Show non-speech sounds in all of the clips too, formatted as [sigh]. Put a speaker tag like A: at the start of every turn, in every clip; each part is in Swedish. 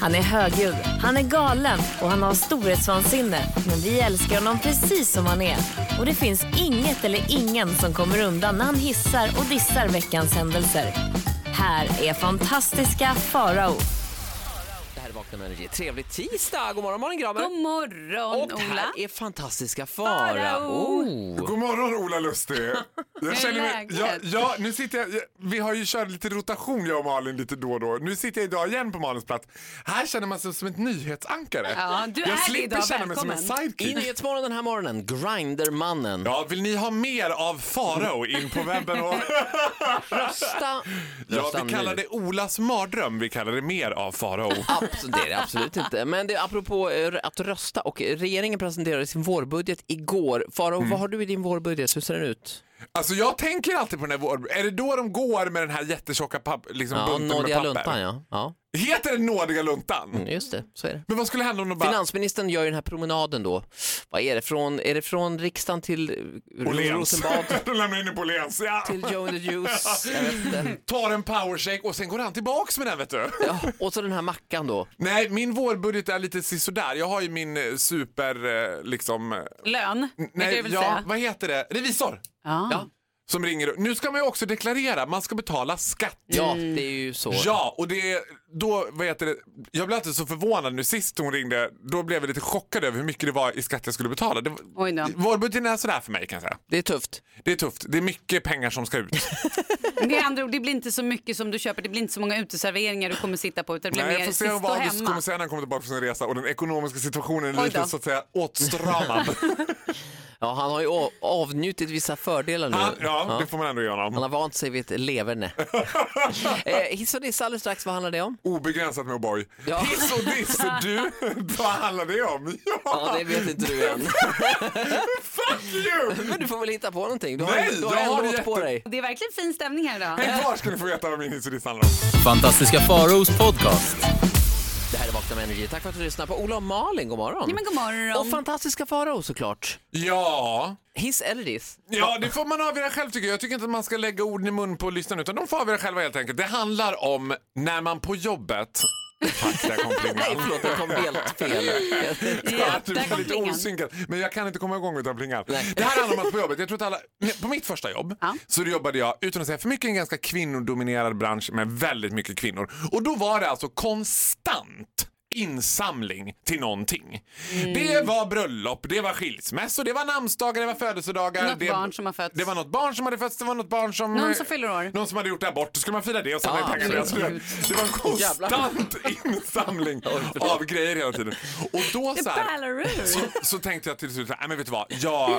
A: Han är högljudd, han är galen och han har storhetsvansinne. Men vi älskar honom precis som han är. Och det finns inget eller ingen som kommer undan när han hissar och dissar veckans händelser. Här är fantastiska Farao.
B: Det här är Vakna med energi. Trevlig tisdag! God morgon, morgon grabbar!
C: God morgon,
B: och det
C: Ola.
B: här är fantastiska Farao. Oh.
D: God morgon
C: [laughs]
D: Ola Lustig! Jag
C: läget?
D: ja, ja, nu sitter jag, jag- vi har ju kört lite rotation jag och Malin lite då och då. Nu sitter jag idag igen på Malins plats. Här känner man sig som ett nyhetsankare.
C: Ja, du
D: jag
C: är det
D: slipper
C: idag.
D: känna mig som en
C: Välkommen.
B: I
D: sidekick.
B: Nyhetsmorgon den här morgonen, Grindermannen.
D: Ja, vill ni ha mer av Farao in på
C: [laughs]
D: webben? Och...
B: Rösta.
D: Ja,
B: Rösta
D: vi kallar
B: nu.
D: det Olas mardröm, vi kallar det mer av Farao.
B: Abs- det är det absolut inte. Men det är apropå eh, att rösta och regeringen presenterade sin vårbudget igår. Farao,
D: Mm.
B: vad har du i din vårbudget? Hur ser den ut?
D: Alltså jag tänker alltid på den här vår... Är det då de går med den här jättetjocka papp... liksom
B: Ja,
D: bunten med
B: nådiga
D: papper?
B: luntan ja. Mm. ja.
D: Heter den nådiga luntan?
B: Just det, så är det.
D: Men vad skulle hända om de bara...
B: Finansministern gör ju den här promenaden då. Vad är det? Från, är det från riksdagen till eh,
D: Åhléns.
B: Rosenbad
D: de lämnar in [laughs] den på Åhléns. Ja.
B: till Joe and the Juice? Jag vet inte.
D: Tar en powershake och sen går han tillbaks med den vet du.
B: Ja, och så den här mackan då.
D: Nej, min vårbudget är lite sisådär. Jag har ju min eh, super, eh, liksom... eh,
C: Lön, vet du
D: Nej,
C: vad jag
D: ja,
C: vill säga?
D: vad heter det? Revisor!
C: Ja.
B: Ja.
D: Som ringer. Nu ska man ju också deklarera, man ska betala skatt.
B: Ja, det är ju så.
D: Ja, och det är då, vad heter det, jag blev alltid så förvånad nu sist hon ringde, då blev jag lite chockad över hur mycket det var i skatt jag skulle betala. Det,
C: Oj då.
D: vårbudgeten är sådär för mig kan jag säga.
B: Det är tufft.
D: Det är tufft, det är mycket pengar som ska ut.
C: Det, är andra, ord, det blir inte så mycket som du köper, det blir inte så många uteserveringar du kommer sitta på utan det blir
D: Nej, jag
C: mer
D: får se
C: sist
D: vad
C: och
D: August kommer
C: hemma.
D: säga när han kommer tillbaka från sin resa och den ekonomiska situationen är
C: Oj
D: lite
C: då.
D: så att säga
B: [laughs]
D: åtstramad.
B: Ja, han har ju å- avnjutit vissa fördelar nu.
D: Han, ja,
B: Ja.
D: det får man ändå göra
B: Han
D: honom.
B: har vant sig vid ett leverne. eh, hiss och diss alldeles strax, vad handlar det om?
D: [laughs] Obegränsat med O'boy.
B: Ja.
D: Hiss och
B: [laughs]
D: diss, du, [laughs] vad handlar det om? [laughs] Ja,
B: Ja, det vet inte du än.
D: fuck you!
B: Men [laughs] du får väl hitta på någonting. Du har,
D: Nej,
B: du har
D: jag
B: en
D: har
B: låt på
D: jätte-
B: dig.
C: Det är verkligen fin stämning här idag.
D: Häng kvar ska ni få veta vad min hiss och diss handlar om.
E: Fantastiska Faros podcast.
B: Det här är Vakna med energi. Tack för att du lyssnar på Ola och Malin. God morgon.
C: Ja, men god morgon.
B: Och fantastiska Farao såklart.
D: Ja,
B: Hiss eller diss?
D: Ja, det får man avgöra själv tycker jag. Jag tycker inte att man ska lägga orden i mun på lyssnaren utan de får avgöra själva helt enkelt. Det handlar om när man på jobbet... Tack,
B: [laughs]
D: där kom
B: Nej,
D: plingan.
B: förlåt, det kom helt fel.
C: [laughs] Ja,
D: Du
C: där
D: blir
C: kom
D: lite
C: plingan.
D: osynkad. Men jag kan inte komma igång utan plingan.
B: Nej.
D: Det här handlar om att på jobbet, jag tror att alla, nej, på mitt första jobb
C: Ja.
D: så jobbade jag, utan att säga för mycket, i en ganska kvinnodominerad bransch med väldigt mycket kvinnor. Och då var det alltså konstant insamling till någonting.
C: Mm.
D: Det var bröllop, det var skilsmässor, det var namnsdagar, det var födelsedagar.
C: Något
D: det,
C: barn som har fötts.
D: Det var något barn som hade fötts, det var något barn som...
C: Någon som fyller år.
D: Någon som hade gjort abort, då skulle man fira det och samla
B: Ja,
D: in pengar. till det.
B: absolut.
D: Alltså, Det var en konstant insamling av grejer hela tiden. Och då så här, så, så tänkte jag till slut, så här, nej men vet du vad, jag,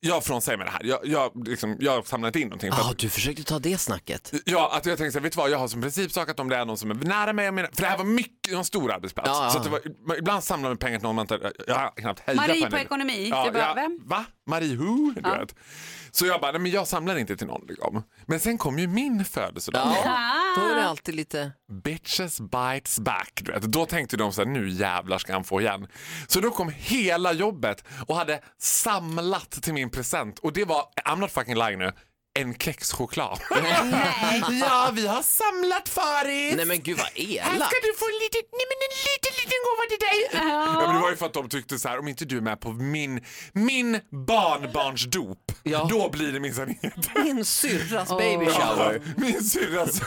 D: jag frånsäger mig det här. Jag, jag, liksom, jag har samlat in någonting. För
B: Ja,
D: att,
B: Ah, du försökte ta det snacket.
D: ja, att jag tänkte så här, vet du vad, jag har som principsak att om det är någon som är nära mig, jag menar, för det här var mycket, det var en stor arbetsplats.
B: Ja, ja.
D: Så att det var, man- ibland samlar man pengar till någon man inte, jag har knappt hejat
C: Marie
D: henne.
C: på ekonomi. Du bara, vem?
D: Va? Marie who? Du vet. Så jag bara, nej men jag samlar inte till någon. Liksom. Men sen kom ju min födelsedag.
B: Ja, då är det alltid lite...
D: Bitches bites back. Du vet. Då tänkte de så här, nu jävlar ska han få igen. Så då kom hela jobbet och hade samlat till min present. Och det var, I'm not fucking lying nu, en
B: [laughs]
D: kexchoklad.
C: Nej.
D: ja, vi har samlat Faris.
B: Nej men gud vad
D: Här
B: elakt.
D: ska du få en liten, nej men en liten, liten gåva till dig. Ja, men det var ju för att de tyckte så här, om inte du är med på min, min barnbarns dop,
B: Ja.
D: då blir det minsann inget.
B: Min syrras baby shower.
D: Min syrras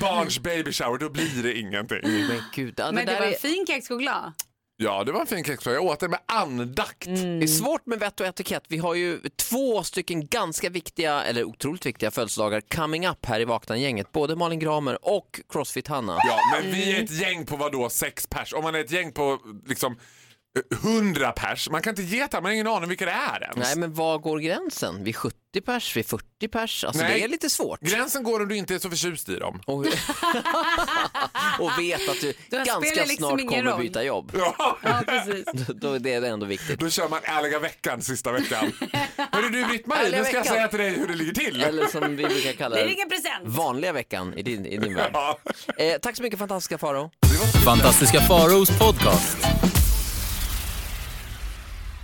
D: barns baby shower, då blir det ingenting.
B: Men gud, ja, det
C: Men det
B: där
C: var
B: är,
C: en fin kexchoklad.
D: Ja, det var en fin kexchoklad. Jag åt den med andakt.
B: det är svårt med vett och etikett. Vi har ju två stycken ganska viktiga, eller otroligt viktiga födelsedagar coming up här i Vakna-gänget. Både Malin Gramer och Crossfit-Hanna.
D: Ja, men vi
B: Mm.
D: är ett gäng på vad då sex pers? Om man är ett gäng på liksom eh, hundra pers, man kan inte ge det här, man har ingen aning vilka det är ens.
B: Nej men var går gränsen? Vid 70 pers? Vid 40 pers? Alltså
D: Nej.
B: det är lite [laughs] svårt.
D: Gränsen går om du inte är så förtjust i dem.
B: Och, [laughs] och vet att du,
C: Då spelar
B: ganska
C: det liksom
B: snart
C: ingen
B: kommer
C: roll.
B: byta jobb. [laughs]
D: Ja.
C: Ja, precis.
B: Då- Då är det ändå viktigt.
D: [laughs] Då kör man ärliga veckan
B: [laughs]
D: sista veckan. Hörru du Britt-Marie,
B: Ärliga
D: nu ska jag
B: veckan.
D: säga till dig hur det ligger till.
B: Eller som vi brukar kalla
C: Det är
B: det,
C: ingen present.
B: vanliga veckan i din, i din värld.
D: Ja.
B: Eh, tack så mycket fantastiska Faro.
E: Fantastiska Faros podcast.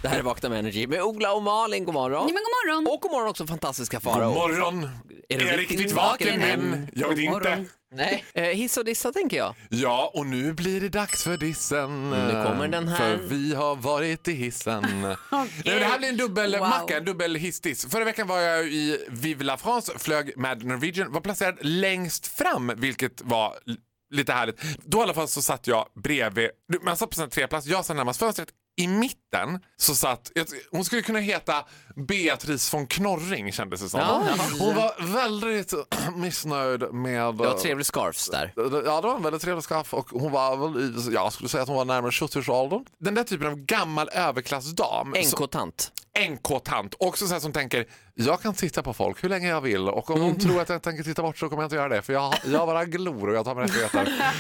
B: Det här är Vakna med Energy med Ola och Malin. God morgon.
C: Ja, men god morgon.
B: Och god morgon också fantastiska Farao.
D: God morgon!
B: Är
D: Är
B: du
D: jag
B: riktigt
D: riktigt
B: vaken
D: vaken
B: än?
D: men jag vet
C: God
D: inte.
C: morgon.
B: Nej. Eh, hiss och dissa tänker jag.
D: Ja, och nu blir det dags för dissen.
B: Nu kommer den här.
D: För vi har varit
B: [laughs]
D: i hissen. Nej, men det här blir en dubbel
C: Wow.
D: macka, en dubbel hiss-diss. Förra veckan var jag i Vive la France, flög med Norwegian, var placerad längst fram, vilket var l- lite härligt. Då i alla fall så satt jag bredvid, du, man satt på sina tre plats, jag satt närmast fönstret. I mitten så satt, jag- hon skulle kunna heta Beatrice von Knorring kändes det som.
B: Ja.
D: Hon var väldigt [clears throat] missnöjd med...
B: Du har trevlig scarfs där.
D: Ja, det var en väldigt trevlig skaff och hon var väl, i- jag skulle säga att hon var närmare 70-årsåldern. Den där typen av gammal överklassdam. så-
B: NK-tant.
D: NK-tant. Också så här som tänker, jag kan titta på folk hur länge jag vill och om de tror att jag tänker titta bort så kommer jag inte göra det för jag, jag bara glor och jag tar mig rättigheter.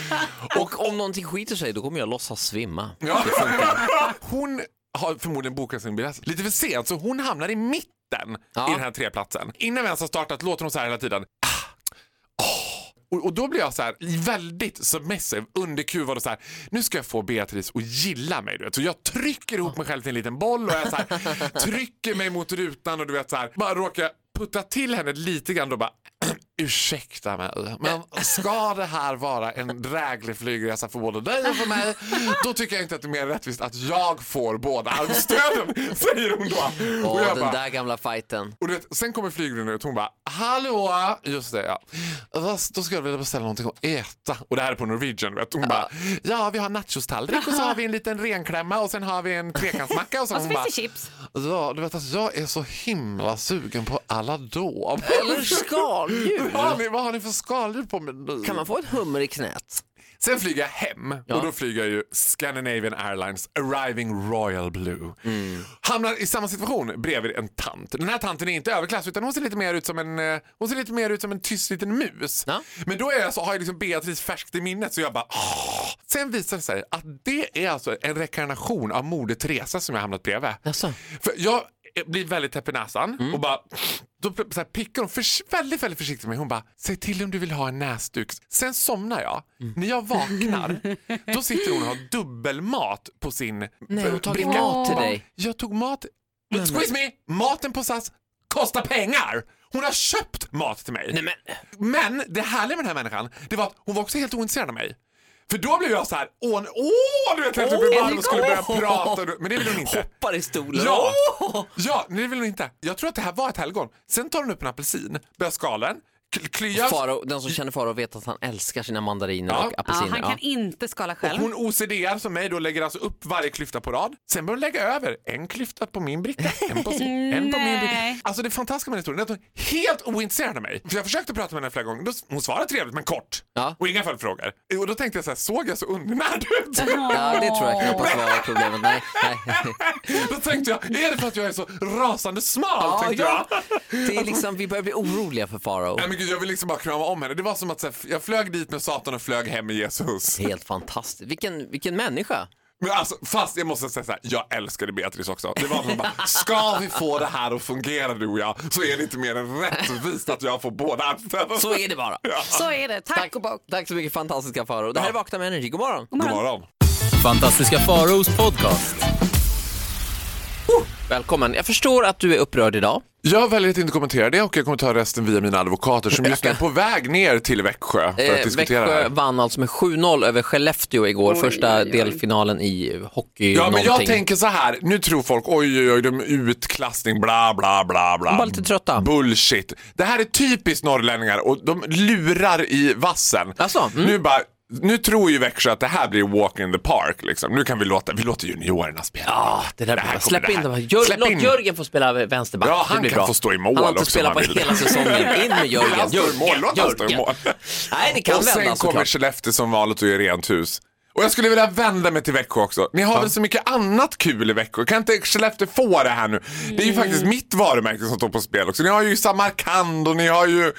B: Och om någonting skiter sig då kommer jag låtsas svimma.
D: Ja. Hon har förmodligen bokat sin biljett lite för sent så hon hamnar i mitten
B: Ja.
D: i den här treplatsen. Innan vi ens har startat låter hon så här hela tiden. Ah, åh. Och, och då blir jag så här väldigt submissive, underkuvad och så här. Nu ska jag få Beatrice att gilla mig. Du vet. Så jag trycker ihop mig själv till en liten boll och jag så
B: [laughs]
D: här, trycker mig mot rutan och du vet så här. Bara råkar putta till henne lite grann då bara [clears throat] ursäkta mig, men ska det här vara en dräglig flygresa för både dig och för mig, då tycker jag inte att det är mer rättvist att jag får båda armstöden, [laughs] säger hon då.
B: Åh,
D: och jag
B: den
D: bara,
B: där gamla fighten.
D: och du vet, sen kommer flygvärdinnan ut och hon bara hallå, just det ja. Vad- Då ska jag vilja beställa någonting att äta. Och det här är på Norwegian. Vet. du. Hon bara ja vi har nachostallrik och så har vi en liten renklämma och sen har vi en trekantsmacka. Och, sen
C: Och så
D: hon
C: finns det
D: bara,
C: chips.
D: Ja, du vet att jag är så himla sugen på alla då.
B: Eller skaldjur.
D: Vad har ni, vad har ni för skaldjur på menyn?
B: Kan man få ett hummer i knät?
D: Sen flyger jag hem och då flyger jag ju Scandinavian Airlines Arriving Royal Blue. Hamnar i samma situation bredvid en tant. Den här tanten är inte överklass utan hon ser lite mer ut som en, eh, hon ser lite mer ut som en tyst liten mus.
B: Ja.
D: Men då är jag så, har jag liksom Beatrice färskt i minnet så jag bara "Åh." Sen visar det sig att det är alltså en rekarnation av Moder Teresa som jag hamnat bredvid.
B: Jaså?
D: För jag blir väldigt täpp i näsan och bara då så här pickar hon förs- väldigt, väldigt försiktigt med mig. Hon bara, säg till om du vill ha en näsduk. Sen somnar jag. När jag vaknar, då sitter hon och har dubbelmat på sin
B: Nej, hon har tagit
D: bricka.
B: mat till dig.
D: Jag tog mat. Squeeze me! Maten på SAS kostar pengar! Hon har köpt mat till mig.
B: Nej men,
D: Men det härliga med den här människan, det var att hon var också helt ointresserad av mig. För då blev jag så här, åh, åh du vet, jag typ blev varm och skulle börja prata. Men det ville hon inte.
B: hoppar i stolen.
D: Ja! [laughs] ja, nej det vill hon inte. Jag tror att det här var ett helgon. Sen tar hon upp en apelsin, börjar skala den, kl- kliar.
B: Faro, den som känner Farao vet att han älskar sina mandariner
D: Ja.
B: och
C: Ja,
B: apelsiner.
C: han kan inte skala själv.
D: Hon OCDR som mig då lägger alltså upp varje klyfta på rad. Sen börjar hon lägga över en klyfta på min bricka, en på sin, en på min bricka.
C: Nej.
D: Alltså det fantastiska med den historien är att hon är helt ointresserad av mig. För jag försökte prata med henne flera gånger. Då, s- hon svarade trevligt men kort.
B: Ja.
D: Och inga följdfrågor. Och då tänkte jag så här, såg jag så undernärd ut?
B: Ja, det tror jag knappast var problemet. Nej, nej.
D: [laughs] då tänkte jag, är det för att jag är så rasande smal? tänkte
B: ja.
D: jag.
B: Det är liksom, vi börjar bli oroliga för Farao.
D: Nej men gud, jag vill liksom bara krama om henne. Det var som att så här, jag flög dit med Satan och flög hem med Jesus.
B: Helt fantastiskt. Vilken, vilken människa.
D: Men alltså, fast jag måste säga så här, jag älskade Beatrice också. Det var som bara, ska vi få det här att fungera du och jag så är det inte mer än rättvist att jag får båda anställda.
B: Så är det bara.
C: Så är det. Tack, och bock.
B: Tack så mycket fantastiska Farao. Det här är Vakna med Energy. God morgon.
D: God morgon.
E: Fantastiska Faraos podcast.
B: Oh, Välkommen. Jag förstår att du är upprörd idag.
D: Jag väljer att inte kommentera det och jag kommer ta resten via mina advokater som just nu är på väg ner till Växjö för att
B: Eh,
D: diskutera det
B: Växjö
D: här.
B: vann alltså med 7-0 över Skellefteå igår,
C: Oj,
B: första
C: oj, oj.
B: delfinalen i eh, hockey
D: Ja men jag
B: någonting.
D: tänker så här, nu tror folk oj oj oj, de är utklassning bla bla bla bla.
B: De var lite trötta.
D: Bullshit. Det här är typiskt norrlänningar och de lurar i vassen.
B: Alltså, mm.
D: Nu bara nu tror ju Växjö att det här blir walk in the park. Liksom. Nu kan vi låta, vi låter juniorerna spela.
B: Ja, det där
D: Det här
B: blir bra. Släpp
D: kommer det
B: in
D: här.
B: dem. Jör,
D: Släpp
B: låt
D: in.
B: Jörgen få spela vänsterback.
D: Ja,
B: det
D: han
B: blir
D: kan
B: bra.
D: få stå i mål
B: Han har
D: också
B: inte
D: om
B: spelat
D: han
B: på
D: vill.
B: hela
D: [laughs]
B: säsongen. In med Jörgen.
D: Han står i mål, låt han stå i mål.
B: Nej, det kan
D: och sen
B: vända
D: kommer
B: såklart.
D: Skellefteå som vanligt och gör rent hus. Och jag skulle vilja vända mig till Växjö också. Ni har väl så mycket annat kul i Växjö? Kan inte Skellefteå få det här nu? Det är
B: Mm.
D: ju faktiskt mitt varumärke som står på spel också. Ni har ju Samarkand och ni har ju...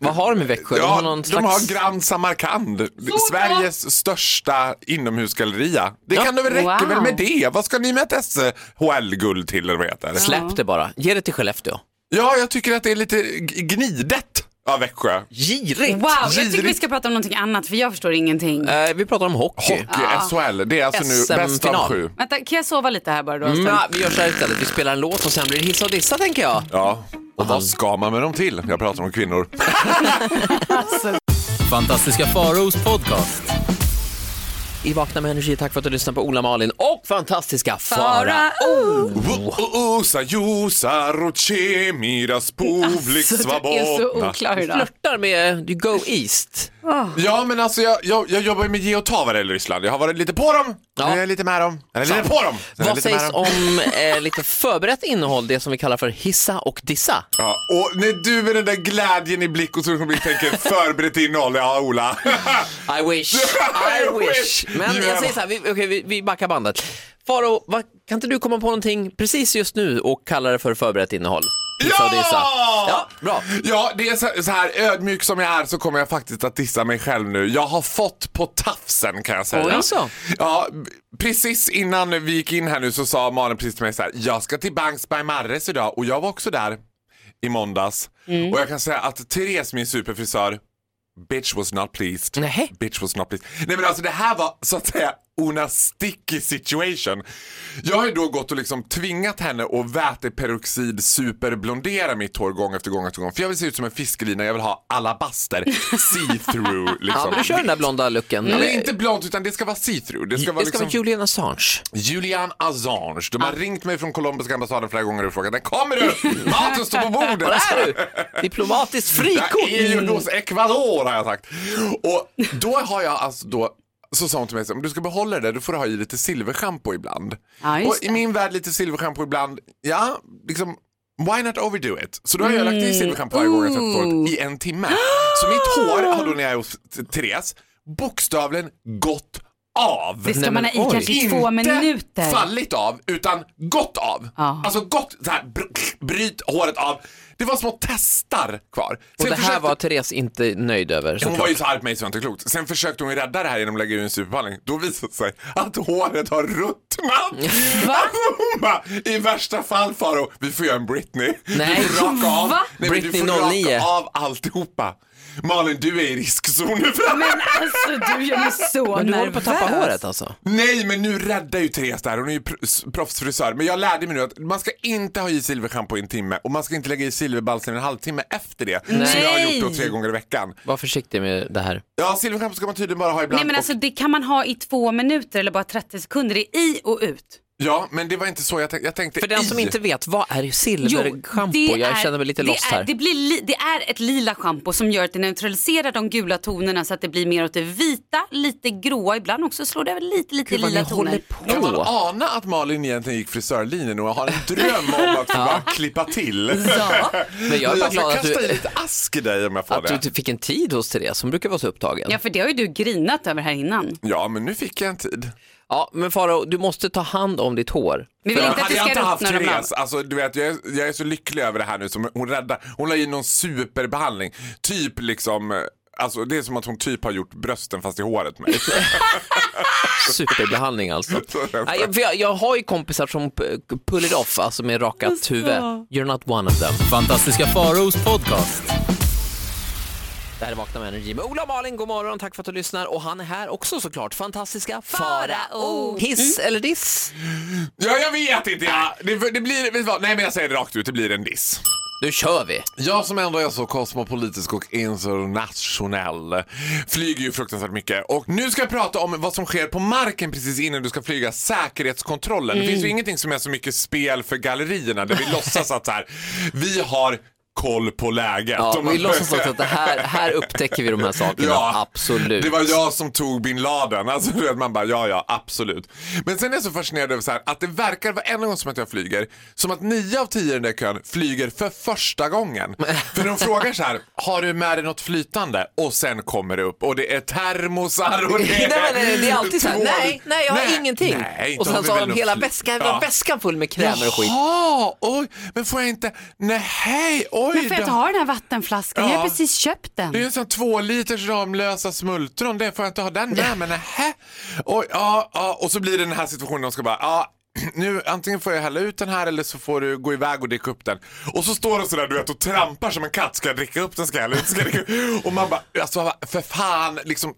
B: Vad har de i Växjö? De har
D: Ja,
B: någon
D: de
B: slags-
D: har Grand Samarkand, Sveriges största inomhusgalleria. Det kan det väl räcka
C: Wow.
D: väl med det? Vad ska ni med ett SHL-guld till eller vad det heter?
B: Släpp det bara. Ge det till Skellefteå.
D: Ja, jag tycker att det är lite g- gnidet Ja, Växjö.
B: Girigt!
C: Wow, jag tycker vi
D: Girigt.
C: ska prata om någonting annat för jag förstår ingenting.
B: Eh, vi pratar om hockey.
D: Hockey, SHL. Det är alltså nu
B: SM-final.
D: bäst av sju.
C: Vänta, kan jag sova lite här bara då?
B: Mm.
C: en stund?
B: Ja, vi gör så här istället, vi spelar en låt och sen blir det hissa och dissa tänker jag.
D: Ja, och vad ska man med dem till? Jag pratar om kvinnor.
E: Fantastiska Faraos podcast.
B: I Vakna med energi, tack för att du lyssnar på Ola Malin och fantastiska Fara.
C: Fara, oh.
D: Usa, jusa, roche, miras,
B: Alltså,
D: publik,
C: Så du är så
D: svabotna.
C: oklar idag.
B: Flörtar med You Go East.
D: Ja, men alltså jag, jag, jag jobbar ju med ge och ta vad det gäller Ryssland. Jag har varit lite på dem,
B: Ja.
D: nu är jag lite med dem, eller lite på dem. sen är jag
B: Vad
D: lite med
B: sägs
D: dem.
B: om eh, lite förberett innehåll, det som vi kallar för hissa och dissa?
D: Ja, och när du med den där glädjen i blick och så kommer
B: [laughs]
D: vi tänker förberett innehåll, ja Ola.
B: I
D: [laughs]
B: wish, I wish. Men jag säger så här, vi, okej, vi, vi backar bandet. Faro, vad, kan inte du komma på någonting precis just nu och kalla det för förberett innehåll? Hissa och dissa. Ja, bra.
D: Ja, det är så- så här ödmjuk som jag är så kommer jag faktiskt att dissa mig själv nu. Jag har fått på tafsen kan jag säga.
B: Oj, så.
D: Ja, b- precis innan vi gick in här nu så sa Malin precis till mig så här, jag ska till Banks by Marres idag och jag var också där i måndags.
B: Mm.
D: Och jag kan säga att Therese, min superfrisör, bitch was not pleased.
B: Nej.
D: Bitch was not pleased. Nej men alltså det här var så att säga una sticky situation. Jag har ju då gått och liksom tvingat henne att väteperoxid superblondera mitt hår gång efter gång efter gång. För jag vill se ut som en fiskelina, jag vill ha
B: [laughs]
D: alabaster, see-through
B: Ja,
D: liksom.
B: men du kör den där blonda looken.
D: Men
B: Eller-
D: det är Mm. inte blont utan det ska vara see-through. Det ska vara,
B: det ska vara
D: liksom
B: Julian Assange.
D: Julian Assange. De har ringt mig från Colombiska ambassaden flera gånger och frågat när
B: [laughs]
D: kommer du? Maten står på bordet!
B: Vad är du? Diplomatiskt frikort.
D: Jag är ju hos Ecuador har jag sagt. Och då har jag alltså då så sa hon till mig, så här, om du ska behålla det där, då får du ha i lite silverschampo ibland.
C: Ja, just
D: och i min värld lite silverschampo ibland, ja, liksom why not overdo it? Så då har jag lagt
C: Mm.
D: i silverschampo varje gång jag tvättat håret i en timme. Så mitt hår har då när jag är hos Therese bokstavligen gått av.
C: Det ska man ha i
B: oj.
C: kanske Alltså, i två
D: Inte
C: minuter.
D: fallit av, utan gått av.
C: Ja.
D: Alltså gått, så här, br- bryt håret av. Det var små testar kvar.
B: Och det
D: Sen
B: här
D: försökte-
B: var typ- Therese inte nöjd över.
D: hon
B: såklart.
D: var ju så arg på mig så det var inte klokt. Sen försökte hon ju rädda det här genom att lägga ur en superbehandling. Då visade det sig att håret har ruttnat. Alltså hon bara, i värsta fall Faro, vi får göra en Britney.
B: Nej.
D: Du får raka av.
C: Va?
D: Nej, men
B: Britney
D: du får
B: 09.
D: raka av alltihopa. Malin, du är i riskzonen för det här.
C: Men alltså du gör mig så
B: Men du håller
C: nervös.
B: på att tappa håret alltså?
D: Nej, men nu räddar ju Therese det här. Hon är ju pr- s- proffsfrisör. Men jag lärde mig nu att man ska inte ha i silverschampo i en timme och man ska inte lägga i silverbalsam i en halvtimme efter det. Som jag har gjort då tre gånger i veckan.
B: Var försiktig med det här.
D: Ja, silverschampo ska man tydligen bara ha ibland.
C: Nej men
D: och-
C: alltså det kan man ha i två minuter eller bara 30 sekunder. Det är i och ut.
D: Ja, men det var inte så jag tänkte. Jag tänkte
B: För den som
D: i.
B: inte vet, vad är silverschampo?
C: det
B: Jag
C: är-
B: känner mig lite
C: det
B: lost
C: Är,
B: här.
C: det, blir li, det är ett lila schampo som gör att det neutraliserar de gula tonerna så att det blir mer åt det vita, lite gråa, ibland också slår det över lite, lite
B: Gud, vad
C: lila
B: ni håller
C: toner.
D: Kan man
B: på.
D: ana att Malin egentligen gick frisörlinjen och har en dröm om
B: [laughs]
D: att få bara klippa till?
C: Ja.
B: Men jag är bara glad
D: jag ska
B: att
D: Alltså, kasta i
B: du,
D: lite ask i dig om jag får
B: att du
D: det.
B: inte fick en tid hos Therese, hon brukar vara så upptagen.
C: ja, för det har ju du grinat över här innan.
D: Ja, men nu fick jag en tid.
B: Ja, men Faro, du måste ta hand om ditt hår.
C: Vi vill inte att
D: Hade
C: det
D: jag inte
C: ska
D: haft
C: ruttna de
D: Therese, alltså, du vet, jag, är, jag är så lycklig över det här nu som hon räddar. Hon la in någon superbehandling. Typ liksom, eh, alltså det är som att hon typ har gjort brösten fast i
C: [laughs]
D: håret med.
B: Superbehandling
D: [laughs]
B: alltså. Nej, jag- för jag, jag har ju kompisar som p- pull it off, alltså med rakat huvud. You're not one of them.
E: Fantastiska Faraos podcast.
B: Det här är Vakna med Energy med Ola och Malin, god morgon, tack för att du lyssnar. Och han är här också såklart, fantastiska Farao. Hiss eller diss?
D: ja, jag vet inte. Jag, det, det blir, vet du vad? Nej, men jag säger det rakt ut, det blir en diss.
B: Nu kör vi!
D: Jag som ändå är så kosmopolitisk och internationell flyger ju fruktansvärt mycket. Och nu ska jag prata om vad som sker på marken precis innan du ska flyga, säkerhetskontrollen. Det
B: Mm.
D: finns ju ingenting som är så mycket spel för gallerierna där vi låtsas att så här, vi har koll på läget.
B: Ja,
D: Om man-
B: vi låtsas också att det
D: [laughs]
B: här, här upptäcker vi de här sakerna, absolut.
D: det var jag som tog bin Laden. Alltså, du vet, man bara, ja, ja, absolut. Men sen är jag så fascinerad över så här, att det verkar varenda gång som att jag flyger, som att nio av tio i den där kön flyger för första gången. För de frågar så här, har du med dig något flytande? Och sen kommer det upp och det är termosar och
B: [laughs]
D: det
B: [laughs] Nej,
D: är
B: men nej, det är alltid så här,
D: tvål.
B: nej, nej, jag har ingenting.
D: nej, inte
B: och sen
D: har vi
B: så har
D: väl
B: de
D: något
B: hela
D: fly-
B: väskan,
D: Ja.
B: väskan full med krämer och skit.
D: Jaha, oj, men får jag inte, nej, oj
C: Men får jag
D: då.
C: inte ha den här vattenflaskan? Jag
D: Ja.
C: har precis köpt den.
D: Det är en sån två liters Ramlösa smultron, det får jag inte ha den med men nähä. Oj, ja, ja. Och så blir det den här situationen de ska bara, ja, nu antingen får jag hälla ut den här eller så får du gå iväg och dricka upp den. Och så står den sådär du vet och trampar som en katt. Ska jag dricka upp den? Ska jag hälla ut den? Ska jag dricka upp? Och man bara, alltså för fan liksom.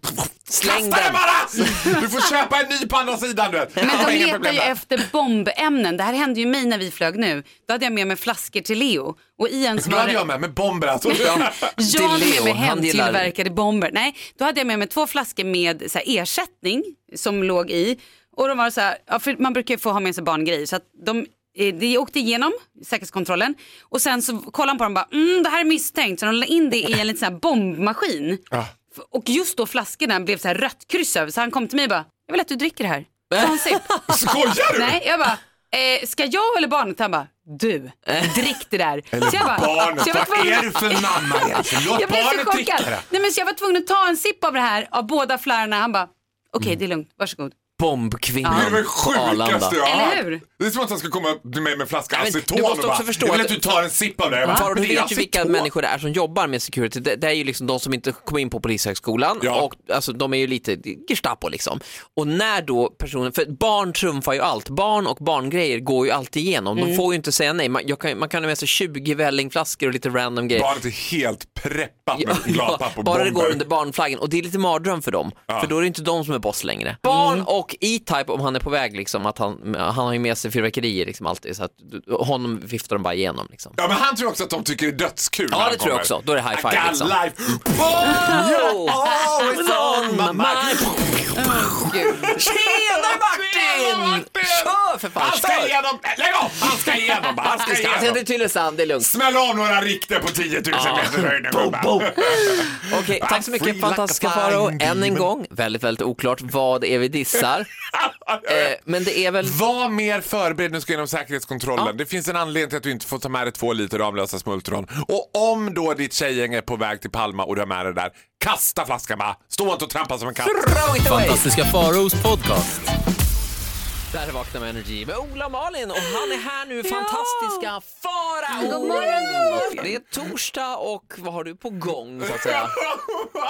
B: Släng
D: kasta
B: den.
D: bara! Du får köpa en ny på andra sidan du vet.
C: Men
D: Jag har
C: de
D: [laughs] inga
C: letar
D: problem
C: ju
D: där.
C: efter bombämnen. Det här hände ju mig när vi flög nu. Då hade jag med mig flaskor till Leo. Och i en så
D: Då
C: var
D: hade
C: det-
D: jag med mig bomber alltså.
C: Jag hade
B: Leo,
C: med mig
B: han gillar-
C: hemtillverkade bomber. Nej, då hade jag med mig två flaskor med så här, ersättning som låg i. Och de var så här, ja, för man brukar ju få ha med sig barngrejer. Så att de, eh, de åkte igenom säkerhetskontrollen och sen så kollade han på dem och bara, mm, det här är misstänkt. Så de la in det i en liten så här bombmaskin.
D: Ja.
C: F- Och just då flaskorna blev så här rött kryss över så han kom till mig och bara, jag vill att du dricker det här. Ta
B: [laughs]
C: en sipp.
D: Skojar du?
C: Nej, jag bara, eh, ska jag eller barnet? Han bara, du, drick det där. Eller jag bara,
D: Barnet,
C: så jag var
D: vad
C: tvungen-
D: är du för mamma egentligen? Låt
C: jag blev så
D: barnet dricka
C: chockad.
D: det.
C: Nej, men så jag var tvungen att ta en sipp av det här, av båda flärrarna. Han bara, okej
B: Mm.
C: det är lugnt, varsågod.
B: Bombkvinnan
D: Det är det
B: på
D: sjukaste
B: Arlanda.
D: jag har
C: Eller
D: hört.
C: hur?
D: Det är som att han ska komma till mig med en flaska
B: Nej, men
D: aceton
B: du
D: och
B: måste
D: bara,
B: också förstå
D: jag vill
B: att-
D: att du tar en sipp av det. Jag bara,
B: Farao, du
D: "Det är
B: vet ju vilka
D: aceton."
B: människor det är som jobbar med security. Det, det är ju liksom de som inte kom in på Polishögskolan
D: Ja.
B: och alltså, de är ju lite Gestapo liksom. Och när då personen, för barn trumfar ju allt, barn och barngrejer går ju alltid igenom.
D: Mm.
B: De får ju inte säga nej, man, jag kan, man kan ha med sig 20 vällingflaskor och lite random grejer.
D: Barnet är helt preppat
B: [laughs]
D: med chokladpapp och
B: bara det går
D: bomber.
B: under barnflaggen och det är lite mardröm för dem, för då är det inte de som är boss längre. Barn och E-Type om han är på väg, liksom, att han, han har ju med sig fyrverkerier liksom, alltid, så att du- honom viftar de bara igenom. Liksom.
D: Ja men han tror också att de tycker det är dötskul när
B: det
D: han
B: tror jag
D: kommer.
B: också. Då är det high five,
D: I got
B: liksom.
D: life. Wow, always on my mind.
B: Tjena Martin! Kör för fan!
D: Han ska
B: kör!
D: igenom, lägg av! Han ska igenom bara, han
B: Vi
D: ska
B: ska- Han ska till
D: igenom.
B: Tylösand, alltså, det är lugnt.
D: Smäll av några rikter på 10 000 meter höjden [laughs] gubbar.
B: Okej, tack så
D: Free
B: mycket
D: like
B: fantastiska
D: a flying
B: Farao. Än en
D: demon.
B: gång, väldigt, väldigt oklart vad det är vi dissar. Eh, Men det är väl...
D: Var mer förberedd när du ska genom säkerhetskontrollen. Det finns en anledning till att du inte får ta med dig två liter Ramlösa smultron. Och om då ditt tjejgäng är på väg till Palma och du har med dig det där, kasta flaskan bara. Stå inte och trampa som
B: [laughs]
D: en katt.
B: Throw it away!
E: Fantastiska Faraos podcast.
B: Där är Vakna med Energy med Ola och Malin och han är här nu, fantastiska Farao! God Det är torsdag och vad har du på gång så att säga?